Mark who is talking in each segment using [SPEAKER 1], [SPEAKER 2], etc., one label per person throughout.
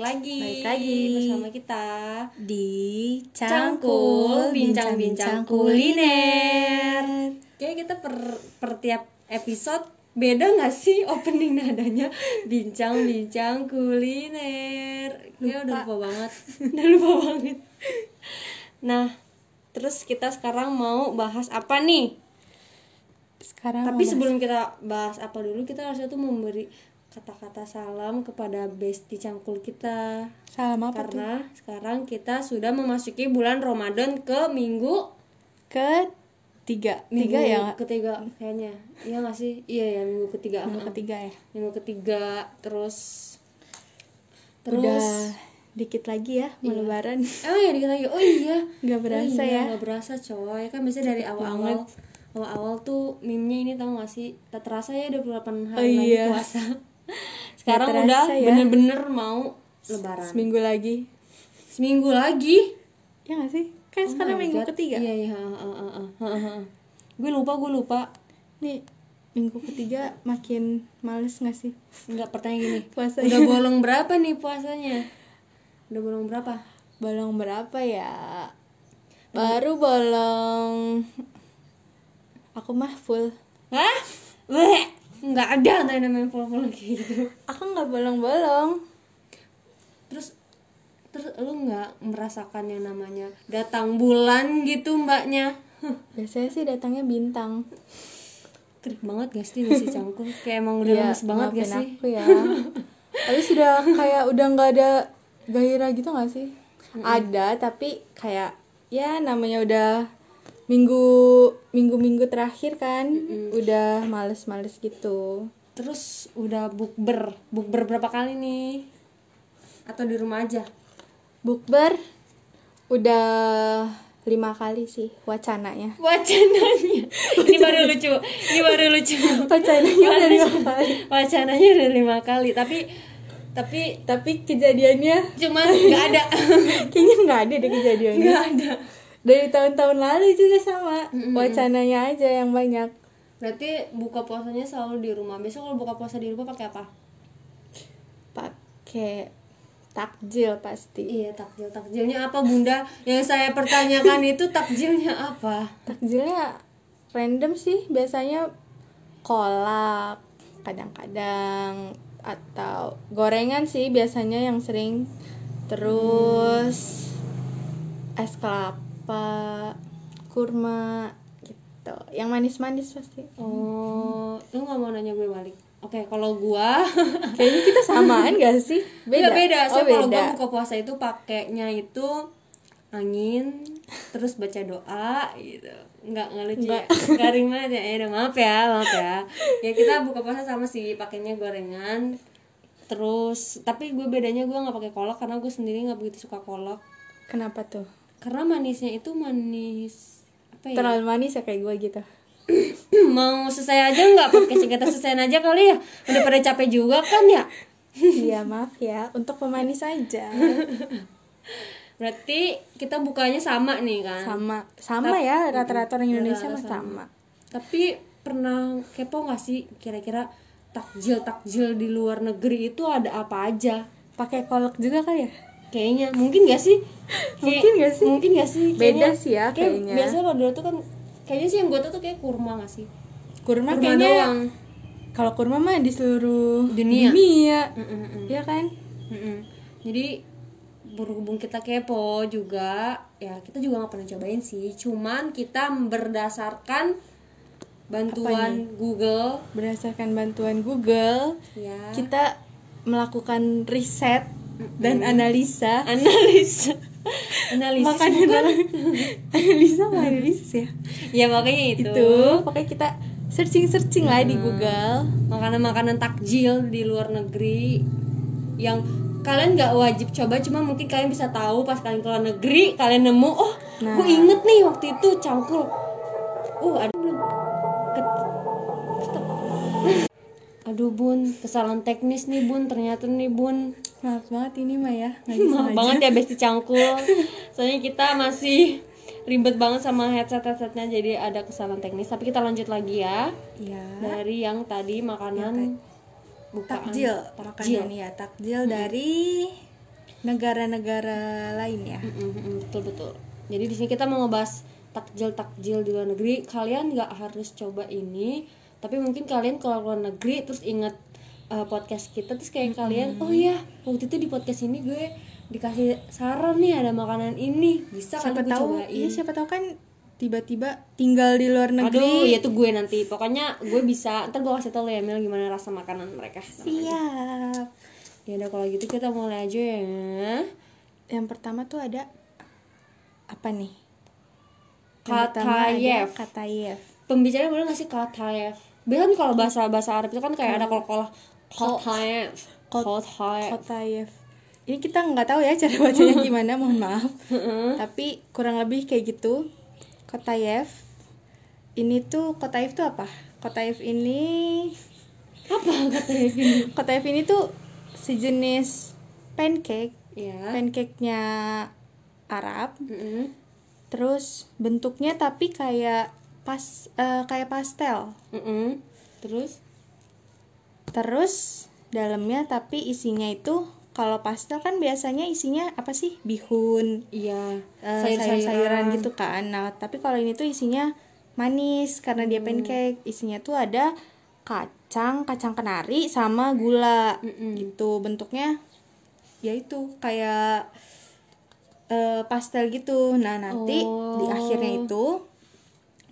[SPEAKER 1] lagi
[SPEAKER 2] Balik lagi.
[SPEAKER 1] bersama kita
[SPEAKER 2] di
[SPEAKER 1] Cangkul
[SPEAKER 2] cangkul
[SPEAKER 1] bincang-bincang kuliner. Kayaknya kita per, per tiap episode beda nggak sih opening nadanya bincang-bincang kuliner. Kayak udah lupa banget, udah lupa banget. Nah, terus kita sekarang mau bahas apa nih?
[SPEAKER 2] Sekarang
[SPEAKER 1] Tapi
[SPEAKER 2] mau bahas-
[SPEAKER 1] sebelum kita bahas apa dulu, kita harusnya tuh memberi kata-kata salam kepada bestie cangkul kita.
[SPEAKER 2] salam apa tuh?
[SPEAKER 1] Karena sekarang kita sudah memasuki bulan Ramadan ke minggu
[SPEAKER 2] Ketiga,
[SPEAKER 1] minggu
[SPEAKER 2] tiga ya nggak?
[SPEAKER 1] ketiga kayaknya. Iya nggak sih? Iya ya minggu ketiga.
[SPEAKER 2] minggu
[SPEAKER 1] Minggu,
[SPEAKER 2] ketiga ya.
[SPEAKER 1] ketiga terus terus Iya.
[SPEAKER 2] Udah dikit lagi ya mau lebaran.
[SPEAKER 1] Emang ya dikit lagi. Oh iya.
[SPEAKER 2] Nggak berasa
[SPEAKER 1] Oh iya,
[SPEAKER 2] ya.
[SPEAKER 1] Nggak berasa coy. Kan biasanya dari awal-awal awal-awal tuh meme-nya ini tau gak sih? Tak terasa ya 28 hari
[SPEAKER 2] Oh
[SPEAKER 1] lagi
[SPEAKER 2] iya.
[SPEAKER 1] puasa. Sekarang
[SPEAKER 2] terasa
[SPEAKER 1] udah
[SPEAKER 2] ya.
[SPEAKER 1] bener-bener mau lebaran.
[SPEAKER 2] Seminggu lagi.
[SPEAKER 1] Seminggu lagi.
[SPEAKER 2] Ya nggak sih? Kan
[SPEAKER 1] Oh
[SPEAKER 2] sekarang
[SPEAKER 1] my
[SPEAKER 2] minggu
[SPEAKER 1] God.
[SPEAKER 2] ketiga.
[SPEAKER 1] Iya iya. heeh, heeh, heeh, heeh. Gue lupa gue lupa.
[SPEAKER 2] Nih minggu ketiga makin males nggak sih?
[SPEAKER 1] Enggak pertanyaan gini.
[SPEAKER 2] Puasa
[SPEAKER 1] Udah bolong berapa nih puasanya? Udah bolong berapa?
[SPEAKER 2] bolong berapa ya? Baru bolong. Aku mah full.
[SPEAKER 1] Hah? Weh, enggak ada tuh yang namanya full-full kayak gitu.
[SPEAKER 2] Aku nggak bolong-bolong.
[SPEAKER 1] Terus terus lu nggak merasakan yang namanya datang bulan gitu mbaknya? Huh,
[SPEAKER 2] Biasanya sih datangnya bintang.
[SPEAKER 1] Krik banget gak sih nasi cangkul? Kayak emang udah
[SPEAKER 2] Iya,
[SPEAKER 1] lemes banget gak
[SPEAKER 2] maafin
[SPEAKER 1] sih?
[SPEAKER 2] aku ya tapi sudah kayak udah nggak ada gairah gitu nggak sih ada tapi kayak ya namanya udah minggu minggu minggu terakhir kan udah males-males gitu
[SPEAKER 1] Terus udah bukber, bukber berapa kali nih? Atau di rumah aja?
[SPEAKER 2] bukber udah lima kali sih wacananya
[SPEAKER 1] wacananya ini baru lucu ini baru lucu
[SPEAKER 2] wacananya udah lima kali
[SPEAKER 1] wacananya udah lima kali tapi tapi
[SPEAKER 2] tapi kejadiannya
[SPEAKER 1] cuma nggak ada
[SPEAKER 2] kayaknya nggak ada deh kejadiannya
[SPEAKER 1] nggak ada
[SPEAKER 2] dari tahun-tahun lalu juga sama wacananya aja yang banyak
[SPEAKER 1] berarti buka puasanya selalu di rumah besok kalau buka puasa di rumah pakai apa
[SPEAKER 2] pakai takjil pasti
[SPEAKER 1] iya takjil takjilnya apa bunda yang saya pertanyakan itu takjilnya apa
[SPEAKER 2] takjilnya random sih biasanya kolak kadang-kadang atau gorengan sih biasanya yang sering terus es kelapa kurma gitu yang manis-manis pasti
[SPEAKER 1] oh lu nggak mau nanya gue balik oke kalau gua
[SPEAKER 2] kayaknya kita samaan gak sih
[SPEAKER 1] beda Iya, beda so
[SPEAKER 2] oh,
[SPEAKER 1] kalau gue
[SPEAKER 2] beda
[SPEAKER 1] buka puasa itu pakainya itu angin terus baca doa gitu nggak nggak lucu ya garing banget ya ya udah, maaf ya maaf ya ya kita buka puasa sama sih pakainya gorengan terus tapi gue bedanya gue nggak pakai kolak karena gue sendiri nggak begitu suka kolak
[SPEAKER 2] kenapa tuh
[SPEAKER 1] karena manisnya itu manis apa ya
[SPEAKER 2] terlalu manis ya kayak gue gitu
[SPEAKER 1] mau selesai aja nggak pakai singkatan selesai aja kali ya udah pada capek juga kan ya
[SPEAKER 2] iya maaf ya untuk pemanis aja
[SPEAKER 1] berarti kita bukanya sama nih kan
[SPEAKER 2] sama sama ya rata-rata orang Indonesia
[SPEAKER 1] Iya,
[SPEAKER 2] mah sama
[SPEAKER 1] Tapi pernah kepo gak sih kira-kira takjil-takjil di luar negeri itu ada apa aja?
[SPEAKER 2] pakai kolak juga kali ya
[SPEAKER 1] Kayaknya mungkin gak sih? Kayak-
[SPEAKER 2] Mungkin nggak sih?
[SPEAKER 1] Mungkin gak sih?
[SPEAKER 2] Beda sih ya,
[SPEAKER 1] kayak
[SPEAKER 2] kayaknya.
[SPEAKER 1] Biasanya kalau dulu tuh kan kayaknya sih yang gue tuh tuh kayak kurma gak sih?
[SPEAKER 2] kurma,
[SPEAKER 1] Kurma
[SPEAKER 2] kayaknya
[SPEAKER 1] doang.
[SPEAKER 2] kalau kurma mah di seluruh
[SPEAKER 1] Dunia. Mm,
[SPEAKER 2] ya kan
[SPEAKER 1] Mm-mm. Jadi berhubung kita kepo juga ya kita juga nggak pernah cobain sih cuman kita berdasarkan bantuan Google
[SPEAKER 2] berdasarkan bantuan Google
[SPEAKER 1] ya
[SPEAKER 2] kita melakukan riset
[SPEAKER 1] Mm,
[SPEAKER 2] dan analisa
[SPEAKER 1] analisa analisis
[SPEAKER 2] makanan orang- analisa mah analisis ya
[SPEAKER 1] ya makanya itu,
[SPEAKER 2] itu pakai kita searching searching lah
[SPEAKER 1] Mm.
[SPEAKER 2] di Google
[SPEAKER 1] makanan-makanan takjil di luar negeri yang kalian nggak wajib coba cuma mungkin kalian bisa tahu pas kalian keluar negeri kalian nemu oh
[SPEAKER 2] Nah.
[SPEAKER 1] gue inget nih waktu itu cangkul uh ada belum Ket- tetep. aduh bun kesalahan teknis nih bun ternyata nih bun
[SPEAKER 2] maaf banget ini mah ya nggak bisa
[SPEAKER 1] Maaf banget ya besti cangkul Soalnya kita masih ribet banget sama headset-headsetnya Jadi ada kesalahan teknis Tapi kita lanjut lagi ya
[SPEAKER 2] ya
[SPEAKER 1] Dari yang tadi makanan bukaan.
[SPEAKER 2] takjil Hmm.
[SPEAKER 1] Takjil
[SPEAKER 2] makanan ya takjil dari negara-negara lain ya
[SPEAKER 1] betul betul jadi di sini kita mau ngebahas takjil takjil di luar negeri kalian nggak harus coba ini tapi mungkin kalian kalau luar negeri terus inget eh, podcast kita terus kayak kalian oh ya waktu itu di podcast ini gue dikasih saran nih ada makanan ini bisa kan
[SPEAKER 2] siapa
[SPEAKER 1] aku
[SPEAKER 2] tahu
[SPEAKER 1] cobain
[SPEAKER 2] iya siapa tahu kan tiba-tiba tinggal di luar
[SPEAKER 1] aduh
[SPEAKER 2] negeri
[SPEAKER 1] ya tuh gue nanti pokoknya gue bisa ntar gue kasih tau lo ya Mel gimana rasa makanan mereka
[SPEAKER 2] siap
[SPEAKER 1] ya udah kalau gitu kita mulai aja ya
[SPEAKER 2] yang pertama tuh ada apa nih Yang pertama ada
[SPEAKER 1] Katayev
[SPEAKER 2] Katayev
[SPEAKER 1] pembicara boleh nggak sih Katayev biasa nih kalau bahasa bahasa Arab itu kan kayak ada kol-kol Katayev
[SPEAKER 2] Eh.
[SPEAKER 1] Katayev
[SPEAKER 2] Kotayev. Ini kita nggak tahu ya cara bacanya gimana, mohon maaf. Tapi kurang lebih kayak gitu. Kotayev. Ini tuh Kotayev tuh apa? Kotayev ini
[SPEAKER 1] apa Katayev ini
[SPEAKER 2] Kotayev ini tuh sejenis pancake,
[SPEAKER 1] ya
[SPEAKER 2] pancake-nya Arab.
[SPEAKER 1] Mm-mm.
[SPEAKER 2] Terus bentuknya tapi kayak pas eh, kayak pastel.
[SPEAKER 1] Mm-mm. terus
[SPEAKER 2] Terus dalamnya tapi isinya itu kalau pastel kan biasanya isinya apa sih? Bihun,
[SPEAKER 1] iya
[SPEAKER 2] eh,
[SPEAKER 1] sayur-sayuran
[SPEAKER 2] sayur-sayuran gitu kan. Nah, tapi kalau ini tuh isinya manis karena
[SPEAKER 1] Hmm.
[SPEAKER 2] dia pancake. Isinya tuh ada kacang, kacang kenari sama gula
[SPEAKER 1] Mm-mm.
[SPEAKER 2] gitu. Bentuknya ya itu kayak eh, pastel gitu. Nah, nanti di
[SPEAKER 1] Oh.
[SPEAKER 2] akhirnya itu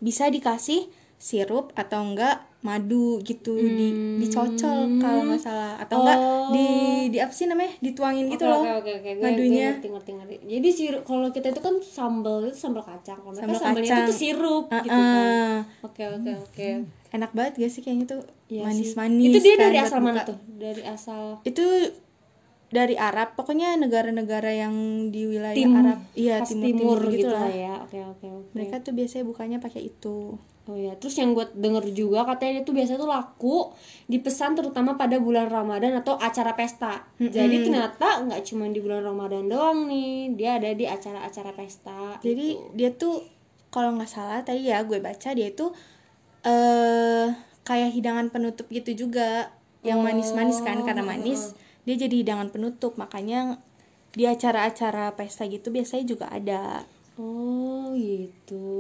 [SPEAKER 2] bisa dikasih sirup atau enggak madu gitu di
[SPEAKER 1] Hmm.
[SPEAKER 2] dicocol kalau nggak salah atau enggak di di apa sih namanya dituangin gitu
[SPEAKER 1] Oh. Oke,
[SPEAKER 2] loh
[SPEAKER 1] oke, oke, oke. Gue- gue
[SPEAKER 2] madunya
[SPEAKER 1] ngerti, ngerti, ngerti. jadi sirup kalau kita itu kan sambal itu sambal kacang kalau mereka
[SPEAKER 2] Sambal
[SPEAKER 1] sambalnya
[SPEAKER 2] kacang.
[SPEAKER 1] itu tuh sirup
[SPEAKER 2] Ah,
[SPEAKER 1] gitu kan
[SPEAKER 2] Heeh.
[SPEAKER 1] oke oke oke
[SPEAKER 2] enak banget gak sih kayaknya tuh
[SPEAKER 1] Iya sih.
[SPEAKER 2] manis-manis
[SPEAKER 1] itu dia
[SPEAKER 2] kan
[SPEAKER 1] dari
[SPEAKER 2] buat
[SPEAKER 1] asal mana
[SPEAKER 2] buka.
[SPEAKER 1] tuh dari asal
[SPEAKER 2] itu dari Arab pokoknya negara-negara yang di wilayah
[SPEAKER 1] timur
[SPEAKER 2] Arab iya
[SPEAKER 1] khas
[SPEAKER 2] timur-timur
[SPEAKER 1] timur
[SPEAKER 2] gitu, lah
[SPEAKER 1] ya oke oke oke
[SPEAKER 2] mereka tuh biasanya bukannya pakai itu
[SPEAKER 1] Oh ya, terus yang gue denger juga katanya itu biasanya tuh laku dipesan terutama pada bulan Ramadan atau acara pesta. Jadi ternyata nggak cuma di bulan Ramadan doang nih, dia ada di acara-acara pesta.
[SPEAKER 2] Jadi dia tuh kalau nggak salah tadi ya gue baca dia itu eh kayak hidangan penutup gitu juga
[SPEAKER 1] Oh.
[SPEAKER 2] yang manis-manis kan karena manis dia jadi hidangan penutup makanya di acara-acara pesta gitu biasanya juga ada.
[SPEAKER 1] Oh gitu.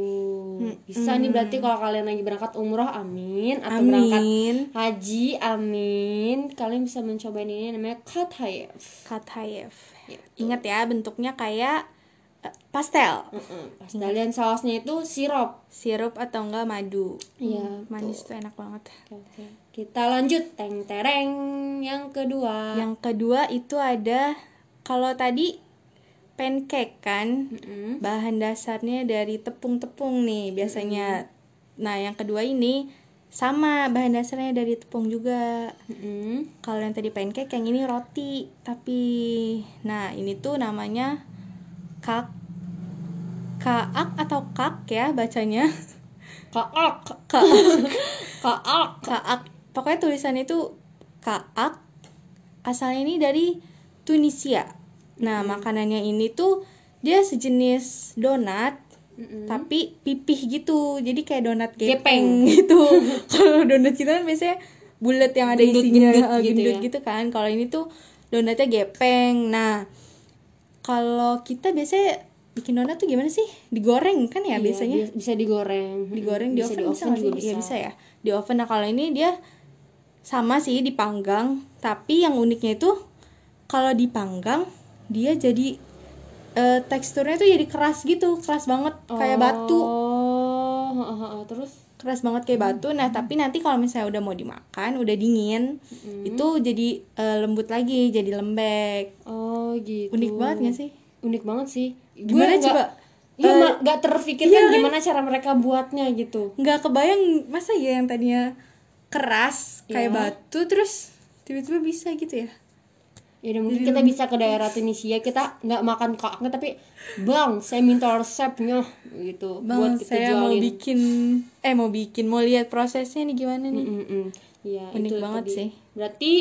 [SPEAKER 1] Bisa nih berarti kalau kalian lagi berangkat umroh, amin. Atau berangkat
[SPEAKER 2] Amin.
[SPEAKER 1] haji, amin. Kalian bisa mencoba ini namanya katayev.
[SPEAKER 2] Katayev. Ingat ya bentuknya kayak eh, pastel,
[SPEAKER 1] Pas kalian sausnya itu sirup.
[SPEAKER 2] sirup atau enggak madu.
[SPEAKER 1] Iya,
[SPEAKER 2] Manis tuh enak banget.
[SPEAKER 1] Oke, Kita lanjut teng tereng yang kedua.
[SPEAKER 2] Yang kedua itu ada kalau tadi pancake kan
[SPEAKER 1] Mm-mm.
[SPEAKER 2] bahan dasarnya dari tepung-tepung nih biasanya. Nah, yang kedua ini sama bahan dasarnya dari tepung juga.
[SPEAKER 1] Mm-mm.
[SPEAKER 2] Kalau yang tadi pancake, yang ini roti. Tapi nah, ini tuh namanya kak kaak atau kak ya bacanya.
[SPEAKER 1] Kaak,
[SPEAKER 2] Kaak.
[SPEAKER 1] kaak.
[SPEAKER 2] kaak. Pokoknya tulisannya itu kaak. Asalnya ini dari Tunisia. Nah,
[SPEAKER 1] Hmm.
[SPEAKER 2] makanannya ini tuh dia sejenis donat tapi pipih gitu jadi kayak donat
[SPEAKER 1] Gepeng.
[SPEAKER 2] gepeng gitu kalau donat kita kan biasanya bulat yang ada
[SPEAKER 1] Gendut-
[SPEAKER 2] isinya
[SPEAKER 1] gendut
[SPEAKER 2] eh,
[SPEAKER 1] gitu
[SPEAKER 2] gendut
[SPEAKER 1] ya.
[SPEAKER 2] gitu kan kalau ini tuh donatnya gepeng nah kalau kita biasanya bikin donat tuh gimana sih digoreng kan ya biasanya
[SPEAKER 1] Iya, bi- bisa digoreng.
[SPEAKER 2] digoreng di
[SPEAKER 1] Bisa
[SPEAKER 2] oven bisa nggak
[SPEAKER 1] juga
[SPEAKER 2] sih? Iya bisa ya di oven nah kalau ini dia sama sih dipanggang tapi yang uniknya itu kalau dipanggang dia jadi eh, teksturnya tuh jadi keras gitu keras banget kayak batu
[SPEAKER 1] Oh, ha, ha, ha. terus
[SPEAKER 2] keras banget kayak batu nah
[SPEAKER 1] Hmm.
[SPEAKER 2] tapi nanti kalau misalnya udah mau dimakan udah dingin
[SPEAKER 1] Hmm.
[SPEAKER 2] itu jadi eh, lembut lagi jadi lembek
[SPEAKER 1] oh gitu.
[SPEAKER 2] unik banget gak sih
[SPEAKER 1] Unik banget sih.
[SPEAKER 2] Gimana
[SPEAKER 1] nggak-
[SPEAKER 2] coba?
[SPEAKER 1] Iya,
[SPEAKER 2] Eh, iya kan?
[SPEAKER 1] nggak nggak terfikirkan gimana cara mereka buatnya gitu.
[SPEAKER 2] nggak kebayang masa ya yang tadinya keras
[SPEAKER 1] Iya.
[SPEAKER 2] kayak batu terus tiba-tiba bisa gitu ya
[SPEAKER 1] Ya udah,
[SPEAKER 2] Iya,
[SPEAKER 1] mungkin kita bisa ke daerah Tunisia kita nggak makan kakaknya tapi bang saya minta resepnya gitu buat
[SPEAKER 2] Bang,
[SPEAKER 1] kita
[SPEAKER 2] saya mau
[SPEAKER 1] jualin.
[SPEAKER 2] bikin eh mau bikin mau lihat prosesnya nih gimana nih
[SPEAKER 1] Mm-mm. Iya,
[SPEAKER 2] Unik
[SPEAKER 1] itu
[SPEAKER 2] banget
[SPEAKER 1] tadi.
[SPEAKER 2] sih.
[SPEAKER 1] Berarti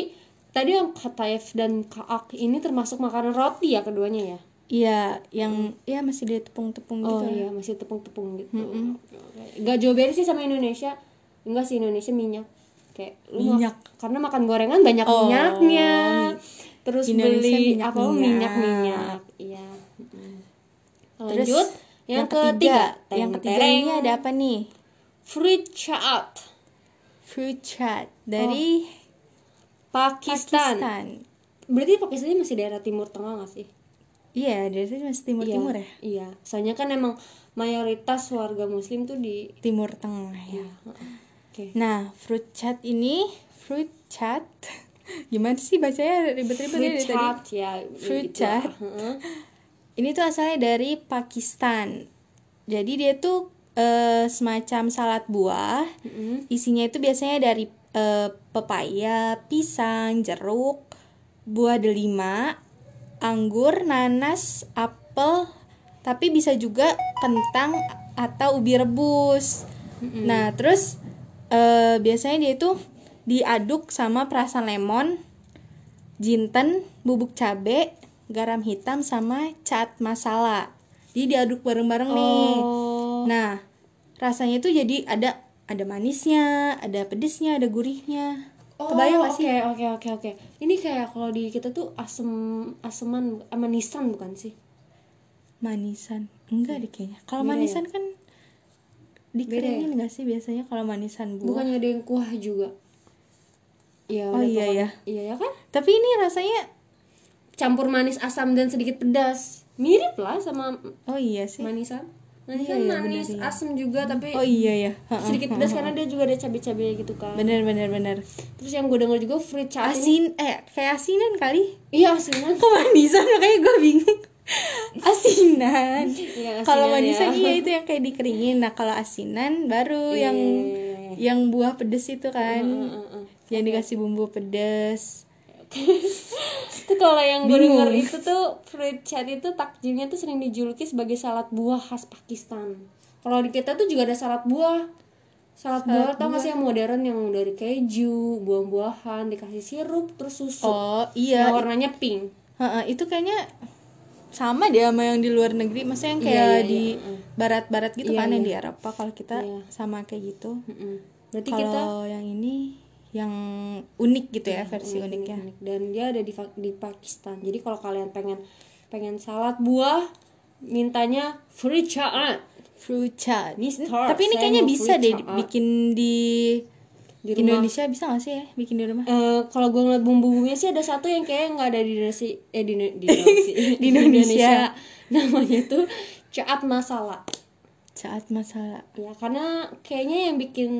[SPEAKER 1] tadi yang katayev dan kaak ini termasuk makanan roti ya keduanya ya?
[SPEAKER 2] iya yang ya masih dari tepung-tepung
[SPEAKER 1] Oh
[SPEAKER 2] gitu
[SPEAKER 1] iya, masih tepung-tepung gitu. Gak jauh beda sih sama Indonesia. Enggak sih Indonesia minyak. Kayak lu mak-
[SPEAKER 2] Minyak. Oh,
[SPEAKER 1] karena makan gorengan banyak minyaknya. terus
[SPEAKER 2] Indonesia
[SPEAKER 1] beli
[SPEAKER 2] minyak-minyak.
[SPEAKER 1] apa minyak-minyak iya mm.
[SPEAKER 2] Terus,
[SPEAKER 1] lanjut yang, ketiga, Teng
[SPEAKER 2] yang ketiga
[SPEAKER 1] tereng.
[SPEAKER 2] ini ada apa nih?
[SPEAKER 1] fruit chaat
[SPEAKER 2] Fruit chat dari
[SPEAKER 1] Pakistan.
[SPEAKER 2] Oh, Pakistan.
[SPEAKER 1] berarti Pakistan ini masih daerah timur tengah gak sih
[SPEAKER 2] Iya, dari sini masih
[SPEAKER 1] Iya,
[SPEAKER 2] timur-timur ya?
[SPEAKER 1] iya soalnya kan emang mayoritas warga muslim tuh di
[SPEAKER 2] Timur tengah ya.
[SPEAKER 1] oke
[SPEAKER 2] Nah, fruit chat ini fruit chat. Gimana sih bacanya ribet-ribet ya
[SPEAKER 1] fruit
[SPEAKER 2] dari tadi?
[SPEAKER 1] chaat ya
[SPEAKER 2] Fruit
[SPEAKER 1] gitu lah.
[SPEAKER 2] chaat.
[SPEAKER 1] Heeh.
[SPEAKER 2] Ini tuh asalnya dari Pakistan. Jadi dia tuh eh, semacam salad buah.
[SPEAKER 1] Mm-mm.
[SPEAKER 2] Isinya itu biasanya dari eh, pepaya, pisang, jeruk, buah delima, anggur, nanas, apel, tapi bisa juga kentang atau ubi rebus. Nah, terus eh, biasanya dia itu diaduk sama perasan lemon, jinten, bubuk cabe, garam hitam sama cat masala. Jadi diaduk bareng-bareng nih.
[SPEAKER 1] Oh.
[SPEAKER 2] Nah, rasanya itu jadi ada ada manisnya, ada pedesnya, ada gurihnya.
[SPEAKER 1] Oh,
[SPEAKER 2] Kebayang gak sih?
[SPEAKER 1] Oke, oke, oke, oke. Ini kayak kalau di kita tuh asem aseman manisan bukan sih?
[SPEAKER 2] Manisan. Enggak deh kayaknya. Kalau
[SPEAKER 1] Beda ya?
[SPEAKER 2] manisan kan
[SPEAKER 1] ya?
[SPEAKER 2] dikeringin nggak sih biasanya kalau manisan buah?
[SPEAKER 1] Bukannya ada yang kuah juga? Iya,
[SPEAKER 2] Oh,
[SPEAKER 1] udah
[SPEAKER 2] iya,
[SPEAKER 1] pokoknya.
[SPEAKER 2] ya.
[SPEAKER 1] Iya ya kan?
[SPEAKER 2] Tapi ini rasanya
[SPEAKER 1] Campur manis asam dan sedikit pedas. Mirip lah sama
[SPEAKER 2] Oh iya sih.
[SPEAKER 1] manisan.
[SPEAKER 2] Iya,
[SPEAKER 1] Manisan
[SPEAKER 2] iya,
[SPEAKER 1] manis
[SPEAKER 2] benar, iya.
[SPEAKER 1] asam juga tapi
[SPEAKER 2] Oh iya ya.
[SPEAKER 1] sedikit pedas karena dia juga ada cabai-cabai gitu kan.
[SPEAKER 2] Bener bener bener.
[SPEAKER 1] Terus yang gue denger juga fruit chaat ini.
[SPEAKER 2] Asin eh kayak asinan kali.
[SPEAKER 1] Iya, asinan.
[SPEAKER 2] Kok manisan makanya gue bingung. Asinan.
[SPEAKER 1] Iya,
[SPEAKER 2] kalau
[SPEAKER 1] asinan
[SPEAKER 2] manisan
[SPEAKER 1] ya.
[SPEAKER 2] iya itu yang kayak dikeringin. Nah kalau asinan baru
[SPEAKER 1] Iya,
[SPEAKER 2] yang
[SPEAKER 1] iya, iya,
[SPEAKER 2] yang buah pedes itu kan.
[SPEAKER 1] Heeh, heeh.
[SPEAKER 2] Yang dikasih bumbu pedes.
[SPEAKER 1] itu kalau yang gue
[SPEAKER 2] Bingung.
[SPEAKER 1] denger itu tuh fruit chat itu takjilnya tuh sering dijuluki sebagai salad buah khas Pakistan kalau di kita tuh juga ada salad buah salad, buah tau gak sih yang modern yang dari keju buah-buahan dikasih sirup terus susu
[SPEAKER 2] Oh
[SPEAKER 1] yang
[SPEAKER 2] iya.
[SPEAKER 1] warnanya pink
[SPEAKER 2] Heeh, itu kayaknya sama deh sama yang di luar negeri. Maksudnya yang
[SPEAKER 1] Iya,
[SPEAKER 2] kayak
[SPEAKER 1] iya,
[SPEAKER 2] di barat-barat gitu
[SPEAKER 1] Iya,
[SPEAKER 2] kan yang
[SPEAKER 1] iya.
[SPEAKER 2] di Eropa kalau kita
[SPEAKER 1] Iya.
[SPEAKER 2] sama kayak gitu.
[SPEAKER 1] Mm-mm. berarti kita
[SPEAKER 2] Kalau yang ini yang unik gitu ya versi uniknya.
[SPEAKER 1] unik dan dia ada di Fa- di Pakistan jadi kalau kalian pengen pengen salad buah mintanya fruit chat
[SPEAKER 2] Fruit chat.
[SPEAKER 1] Mister,
[SPEAKER 2] Tapi ini
[SPEAKER 1] saya
[SPEAKER 2] kayaknya
[SPEAKER 1] mau
[SPEAKER 2] bisa
[SPEAKER 1] fruit
[SPEAKER 2] deh
[SPEAKER 1] chat.
[SPEAKER 2] bikin di,
[SPEAKER 1] Di rumah.
[SPEAKER 2] Indonesia bisa gak sih ya bikin di rumah?
[SPEAKER 1] Eh, kalau gue ngeliat bumbu-bumbunya sih ada satu yang kayaknya nggak ada di Indonesia eh di, Indo- di, Indonesia.
[SPEAKER 2] Di Indonesia.
[SPEAKER 1] namanya tuh caat masala
[SPEAKER 2] Saat masalah.
[SPEAKER 1] ya karena kayaknya yang bikin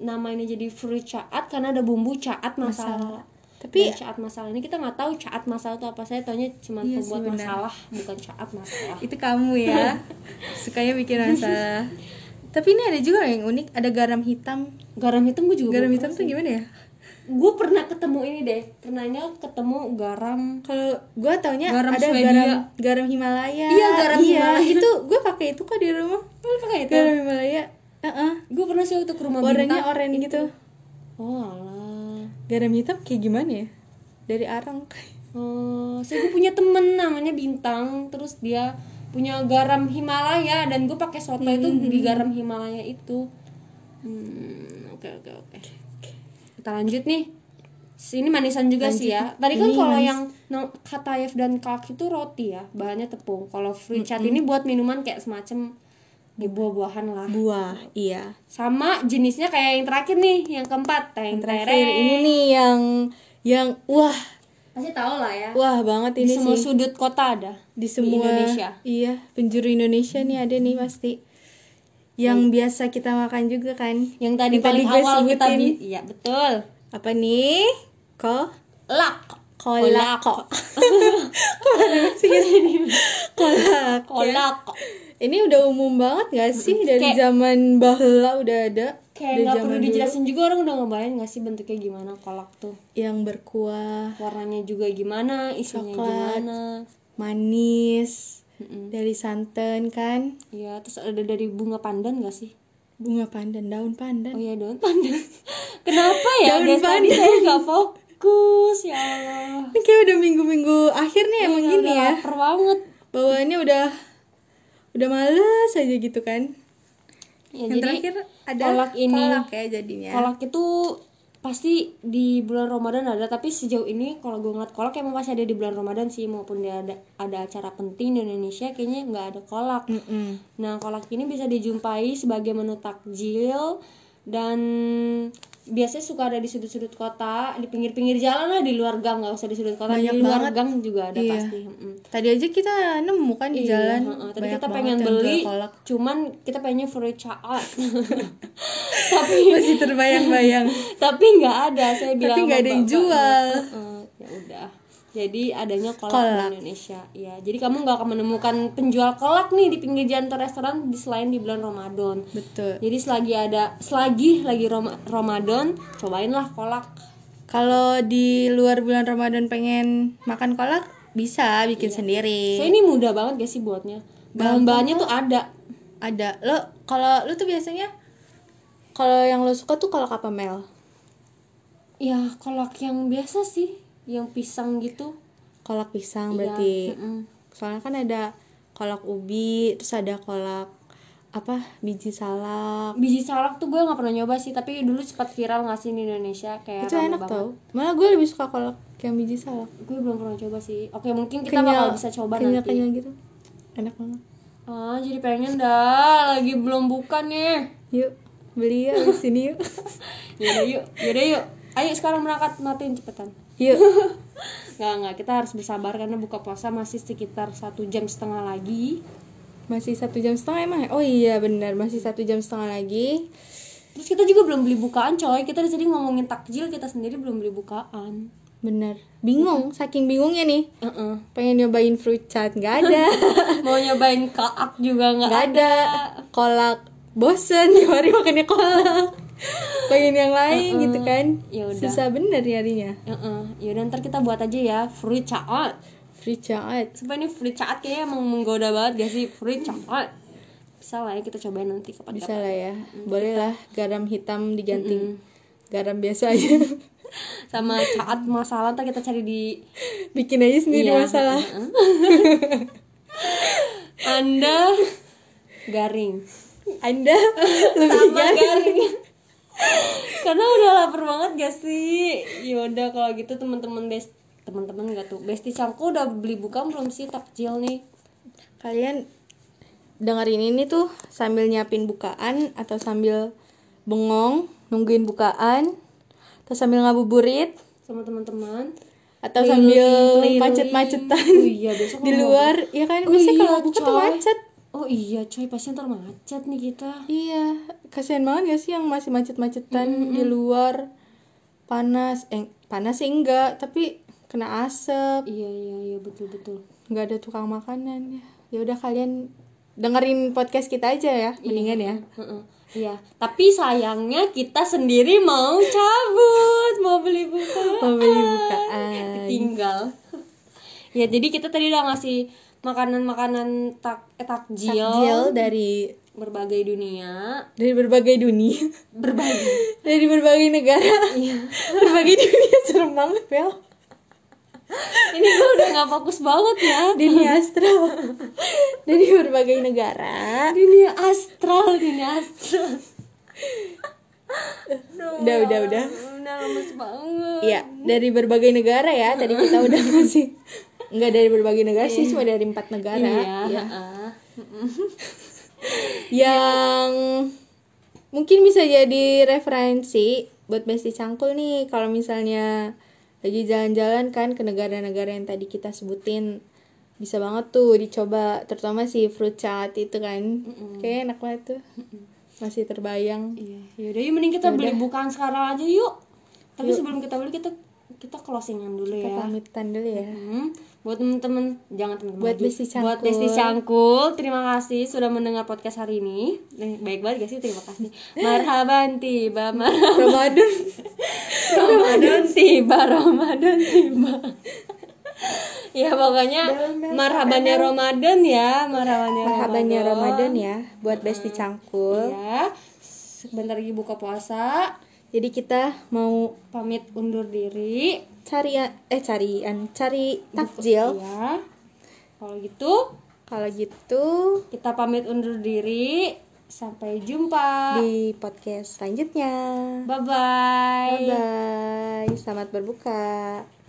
[SPEAKER 1] nama ini jadi fruit caat karena ada bumbu caat masala,
[SPEAKER 2] Tapi-
[SPEAKER 1] Dan caat masala ini kita nggak tahu caat masala itu apa saya taunya cuma
[SPEAKER 2] Iya sih,
[SPEAKER 1] pembuat
[SPEAKER 2] benar.
[SPEAKER 1] masalah bukan caat masalah
[SPEAKER 2] Nah, Itu kamu ya. Sukanya bikin masalah. Tapi ini ada juga yang unik, ada garam hitam.
[SPEAKER 1] garam hitam gue juga
[SPEAKER 2] Garam hitam tuh gimana ya?
[SPEAKER 1] gue pernah ketemu ini deh pernahnya ketemu garam
[SPEAKER 2] Kalau gua taunya
[SPEAKER 1] Garam
[SPEAKER 2] ada
[SPEAKER 1] Swedia.
[SPEAKER 2] garam garam Himalaya.
[SPEAKER 1] Iya, garam Himalaya.
[SPEAKER 2] Itu gua pakai itu kok di rumah.
[SPEAKER 1] lu pakai itu
[SPEAKER 2] Garam Himalaya. Heeh.
[SPEAKER 1] gue pernah sih waktu ke rumah
[SPEAKER 2] Warnanya
[SPEAKER 1] bintang
[SPEAKER 2] oranye gitu.
[SPEAKER 1] oh alah
[SPEAKER 2] Garam hitam kayak gimana ya? Dari arang.
[SPEAKER 1] Oh, saya gue punya temen namanya Bintang, terus dia punya garam Himalaya dan gue pakai soto itu
[SPEAKER 2] Hmm.
[SPEAKER 1] di garam Himalaya itu. Hmm, oke oke oke. Kita lanjut nih. Ini manisan juga sih ya. Tadi kan
[SPEAKER 2] Ini
[SPEAKER 1] kalau
[SPEAKER 2] manis.
[SPEAKER 1] yang no- khatayef dan kalk itu roti ya, bahannya tepung. Kalau fruit chat ini buat minuman kayak semacam ya buah-buahan lah.
[SPEAKER 2] Buah, iya.
[SPEAKER 1] Sama jenisnya kayak yang terakhir nih, yang keempat, teng
[SPEAKER 2] Terakhir ini nih yang yang wah,
[SPEAKER 1] Pasti tahu lah ya.
[SPEAKER 2] wah banget
[SPEAKER 1] Di
[SPEAKER 2] ini
[SPEAKER 1] semua
[SPEAKER 2] sih.
[SPEAKER 1] sudut kota ada.
[SPEAKER 2] Di semua
[SPEAKER 1] Indonesia.
[SPEAKER 2] Iya, penjuru Indonesia nih ada nih pasti. Yang
[SPEAKER 1] Iya.
[SPEAKER 2] biasa kita makan juga kan.
[SPEAKER 1] yang tadi
[SPEAKER 2] Yang
[SPEAKER 1] paling
[SPEAKER 2] gue
[SPEAKER 1] awal kita
[SPEAKER 2] sebutin.
[SPEAKER 1] bi- iya betul
[SPEAKER 2] apa nih? Ko
[SPEAKER 1] lak
[SPEAKER 2] kolak
[SPEAKER 1] Kolak.
[SPEAKER 2] kolak. ya.
[SPEAKER 1] kolak
[SPEAKER 2] Ini udah umum banget gak sih dari
[SPEAKER 1] Kayak-
[SPEAKER 2] zaman bahla udah ada.
[SPEAKER 1] kayak
[SPEAKER 2] Dari
[SPEAKER 1] nggak perlu
[SPEAKER 2] zaman dulu.
[SPEAKER 1] dijelasin juga orang udah ngebayangin nggak sih bentuknya gimana kolak tuh
[SPEAKER 2] yang berkuah,
[SPEAKER 1] warnanya juga gimana isinya
[SPEAKER 2] Coklat.
[SPEAKER 1] gimana
[SPEAKER 2] manis,
[SPEAKER 1] Mm-mm.
[SPEAKER 2] dari santan kan,
[SPEAKER 1] ya terus ada dari bunga pandan nggak sih
[SPEAKER 2] bunga pandan,
[SPEAKER 1] oh
[SPEAKER 2] daun pandan.
[SPEAKER 1] ya daun pandan kenapa ya
[SPEAKER 2] Daun
[SPEAKER 1] guys tadi
[SPEAKER 2] pandan.
[SPEAKER 1] saya nggak fokus ya Allah
[SPEAKER 2] Ini kayak udah minggu-minggu akhir
[SPEAKER 1] Iya,
[SPEAKER 2] nih emang gini
[SPEAKER 1] Udah
[SPEAKER 2] ya.
[SPEAKER 1] lapar banget
[SPEAKER 2] Bawaannya udah udah males aja gitu kan.
[SPEAKER 1] ya,
[SPEAKER 2] yang
[SPEAKER 1] jadi
[SPEAKER 2] terakhir ada
[SPEAKER 1] kolak ini
[SPEAKER 2] kolak ya jadinya.
[SPEAKER 1] kolak itu pasti di bulan Ramadan ada tapi sejauh ini kalau gue ngeliat kolak emang pasti ada di bulan Ramadan sih maupun dia ada ada acara penting di Indonesia kayaknya nggak ada kolak
[SPEAKER 2] Mm-mm.
[SPEAKER 1] Nah, kolak ini bisa dijumpai sebagai menu takjil dan biasanya suka ada di sudut-sudut kota, di pinggir-pinggir jalan lah, di luar gang nggak usah di sudut kota,
[SPEAKER 2] Banyak
[SPEAKER 1] di luar
[SPEAKER 2] banget.
[SPEAKER 1] gang juga ada
[SPEAKER 2] Iya.
[SPEAKER 1] pasti. mm.
[SPEAKER 2] Tadi aja kita nemu kan di
[SPEAKER 1] Iya,
[SPEAKER 2] jalan.
[SPEAKER 1] heeh. Tadi
[SPEAKER 2] banyak
[SPEAKER 1] kita
[SPEAKER 2] banget
[SPEAKER 1] pengen
[SPEAKER 2] yang jual
[SPEAKER 1] beli,
[SPEAKER 2] kolak.
[SPEAKER 1] cuman kita pengennya fruit out. tapi
[SPEAKER 2] Masih terbayang-bayang.
[SPEAKER 1] tapi nggak ada, saya bilang.
[SPEAKER 2] nggak
[SPEAKER 1] sama
[SPEAKER 2] ada yang
[SPEAKER 1] bapak,
[SPEAKER 2] jual.
[SPEAKER 1] "Heeh, ya udah. Jadi adanya kolak,
[SPEAKER 2] Kolak.
[SPEAKER 1] di Indonesia. Ya, jadi kamu nggak akan menemukan penjual kolak nih di pinggir jalan atau restoran di selain di bulan Ramadan.
[SPEAKER 2] Betul.
[SPEAKER 1] Jadi selagi ada selagi lagi Rom- Ramadan, cobainlah kolak.
[SPEAKER 2] Kalau di luar bulan Ramadan pengen makan kolak, bisa bikin
[SPEAKER 1] Iya.
[SPEAKER 2] sendiri.
[SPEAKER 1] Saya ini mudah banget gak sih buatnya. Bahan-bahannya tuh ada.
[SPEAKER 2] Ada. Lo kalau lo tuh biasanya kalau yang lo suka tuh kolak apa Mel?
[SPEAKER 1] Ya, kolak yang biasa sih, yang pisang gitu.
[SPEAKER 2] Kolak pisang
[SPEAKER 1] Iya,
[SPEAKER 2] berarti.
[SPEAKER 1] mm-mm.
[SPEAKER 2] Soalnya kan ada kolak ubi, terus ada kolak apa? Biji salak.
[SPEAKER 1] Biji salak tuh gue nggak pernah nyoba sih, tapi dulu sempat viral nggak sih di Indonesia kayak
[SPEAKER 2] Itu
[SPEAKER 1] Iya, rame
[SPEAKER 2] enak
[SPEAKER 1] banget.
[SPEAKER 2] tau. Malah gue lebih suka kolak yang biji salak.
[SPEAKER 1] Gue belum pernah coba sih. Oke, mungkin kita bakal
[SPEAKER 2] Kenyal,
[SPEAKER 1] bisa coba
[SPEAKER 2] kenyal,
[SPEAKER 1] nanti.
[SPEAKER 2] kenyal gitu. Enak banget.
[SPEAKER 1] Ah, jadi pengen dah, lagi belum buka nih.
[SPEAKER 2] Yuk, beli ya di sini yuk.
[SPEAKER 1] Yaudah yuk, yaudah yuk. Ayo sekarang berangkat matiin cepetan.
[SPEAKER 2] yuk.
[SPEAKER 1] Nggak, nggak, kita harus bersabar karena buka puasa masih sekitar satu jam setengah lagi
[SPEAKER 2] Masih satu jam setengah emang. ya? Oh iya benar, masih satu jam setengah lagi.
[SPEAKER 1] Terus kita juga belum beli bukaan coy, kita di sini ngomongin takjil, kita sendiri belum beli bukaan
[SPEAKER 2] Bener. Bingung, saking bingungnya nih.
[SPEAKER 1] Heeh.
[SPEAKER 2] Pengen nyobain fruit chat nggak ada,
[SPEAKER 1] Mau nyobain kaak juga nggak
[SPEAKER 2] nggak ada. Kolak bosen, tiap hari makannya kolak. Pengen yang lain gitu kan.
[SPEAKER 1] Ya udah.
[SPEAKER 2] Susah bener nyarinya.
[SPEAKER 1] Heeh. Yaudah ntar kita buat aja ya, fruit caat
[SPEAKER 2] Fruit chat.
[SPEAKER 1] Sumpah ini fruit caat kayaknya emang menggoda banget gak sih, fruit caat Bisa lah ya kita cobain nanti kapan-kapan
[SPEAKER 2] Bisa lah ya, boleh lah garam hitam diganti garam biasa aja.
[SPEAKER 1] Sama caat masalah ntar kita cari di
[SPEAKER 2] Bikin aja
[SPEAKER 1] Iya,
[SPEAKER 2] sendiri masalah.
[SPEAKER 1] heeh. Anda garing
[SPEAKER 2] Anda lebih
[SPEAKER 1] tambah garing karena udah lapar banget gak sih yaudah kalau gitu teman-teman best teman-teman gak tuh besti cangku udah beli buka belum sih takjil nih
[SPEAKER 2] kalian dengerin ini tuh sambil nyiapin bukaan atau sambil bengong nungguin bukaan atau sambil ngabuburit
[SPEAKER 1] sama teman-teman
[SPEAKER 2] atau
[SPEAKER 1] Keliling,
[SPEAKER 2] sambil
[SPEAKER 1] keliling.
[SPEAKER 2] macet-macetan
[SPEAKER 1] Oh iya, besok
[SPEAKER 2] di
[SPEAKER 1] mau
[SPEAKER 2] luar ya kan
[SPEAKER 1] Oh
[SPEAKER 2] biasanya
[SPEAKER 1] iya,
[SPEAKER 2] kalau buka tuh
[SPEAKER 1] coy.
[SPEAKER 2] macet
[SPEAKER 1] oh iya coy pasti ntar macet nih kita
[SPEAKER 2] iya kasihan banget gak sih yang masih macet-macetan di luar panas eh panas sih enggak tapi kena asap
[SPEAKER 1] iya iya iya betul betul
[SPEAKER 2] nggak ada tukang makanan ya ya udah kalian dengerin podcast kita
[SPEAKER 1] Iya.
[SPEAKER 2] aja ya mendingan ya
[SPEAKER 1] Heeh. iya tapi sayangnya kita sendiri mau cabut mau beli buka
[SPEAKER 2] mau beli bukaan
[SPEAKER 1] tinggal Eh, ya jadi kita tadi udah ngasih makanan-makanan tak eh,
[SPEAKER 2] Takjil
[SPEAKER 1] takjil
[SPEAKER 2] dari
[SPEAKER 1] berbagai dunia
[SPEAKER 2] dari berbagai dunia
[SPEAKER 1] berbagai
[SPEAKER 2] dari berbagai negara
[SPEAKER 1] Iya.
[SPEAKER 2] berbagai dunia serem banget Bel
[SPEAKER 1] ini gue udah nggak fokus banget ya
[SPEAKER 2] dunia astra dari berbagai negara
[SPEAKER 1] dunia astral dunia astral
[SPEAKER 2] udah udah udah
[SPEAKER 1] udah lemes banget
[SPEAKER 2] Iya, dari berbagai negara ya tadi kita udah ngasih nggak dari berbagai negara sih cuma dari empat negara
[SPEAKER 1] iya
[SPEAKER 2] ya.
[SPEAKER 1] heeh.
[SPEAKER 2] yang mungkin bisa jadi referensi buat Besti Cangkul nih kalau misalnya lagi jalan-jalan kan ke negara-negara yang tadi kita sebutin bisa banget tuh dicoba terutama si fruit chat itu kan kayaknya enak banget tuh masih terbayang
[SPEAKER 1] iya yaudah yuk mending kita beli bukaan sekarang aja yuk tapi sebelum kita beli kita kita closingan dulu ya
[SPEAKER 2] pamitan dulu ya
[SPEAKER 1] Hmm, buat temen-temen jangan temen-temen
[SPEAKER 2] Buat
[SPEAKER 1] lagi.
[SPEAKER 2] Besti Cangkul.
[SPEAKER 1] buat Besti Cangkul terima kasih sudah mendengar podcast hari ini Eh, baik banget gak sih terima kasih marhaban tiba marhaban
[SPEAKER 2] Ramadan
[SPEAKER 1] Ramadan tiba Ramadan tiba ya pokoknya marhabannya Ramadan ya marhabannya
[SPEAKER 2] marhabannya
[SPEAKER 1] Ramadan
[SPEAKER 2] Ramadan ya buat Besti Cangkul
[SPEAKER 1] ya sebentar lagi buka puasa
[SPEAKER 2] jadi kita mau
[SPEAKER 1] pamit undur diri
[SPEAKER 2] cari eh carian cari takjil
[SPEAKER 1] ya kalau gitu
[SPEAKER 2] kalau gitu
[SPEAKER 1] kita pamit undur diri Sampai jumpa.
[SPEAKER 2] di podcast selanjutnya.
[SPEAKER 1] Bye bye.
[SPEAKER 2] Bye bye. Selamat berbuka.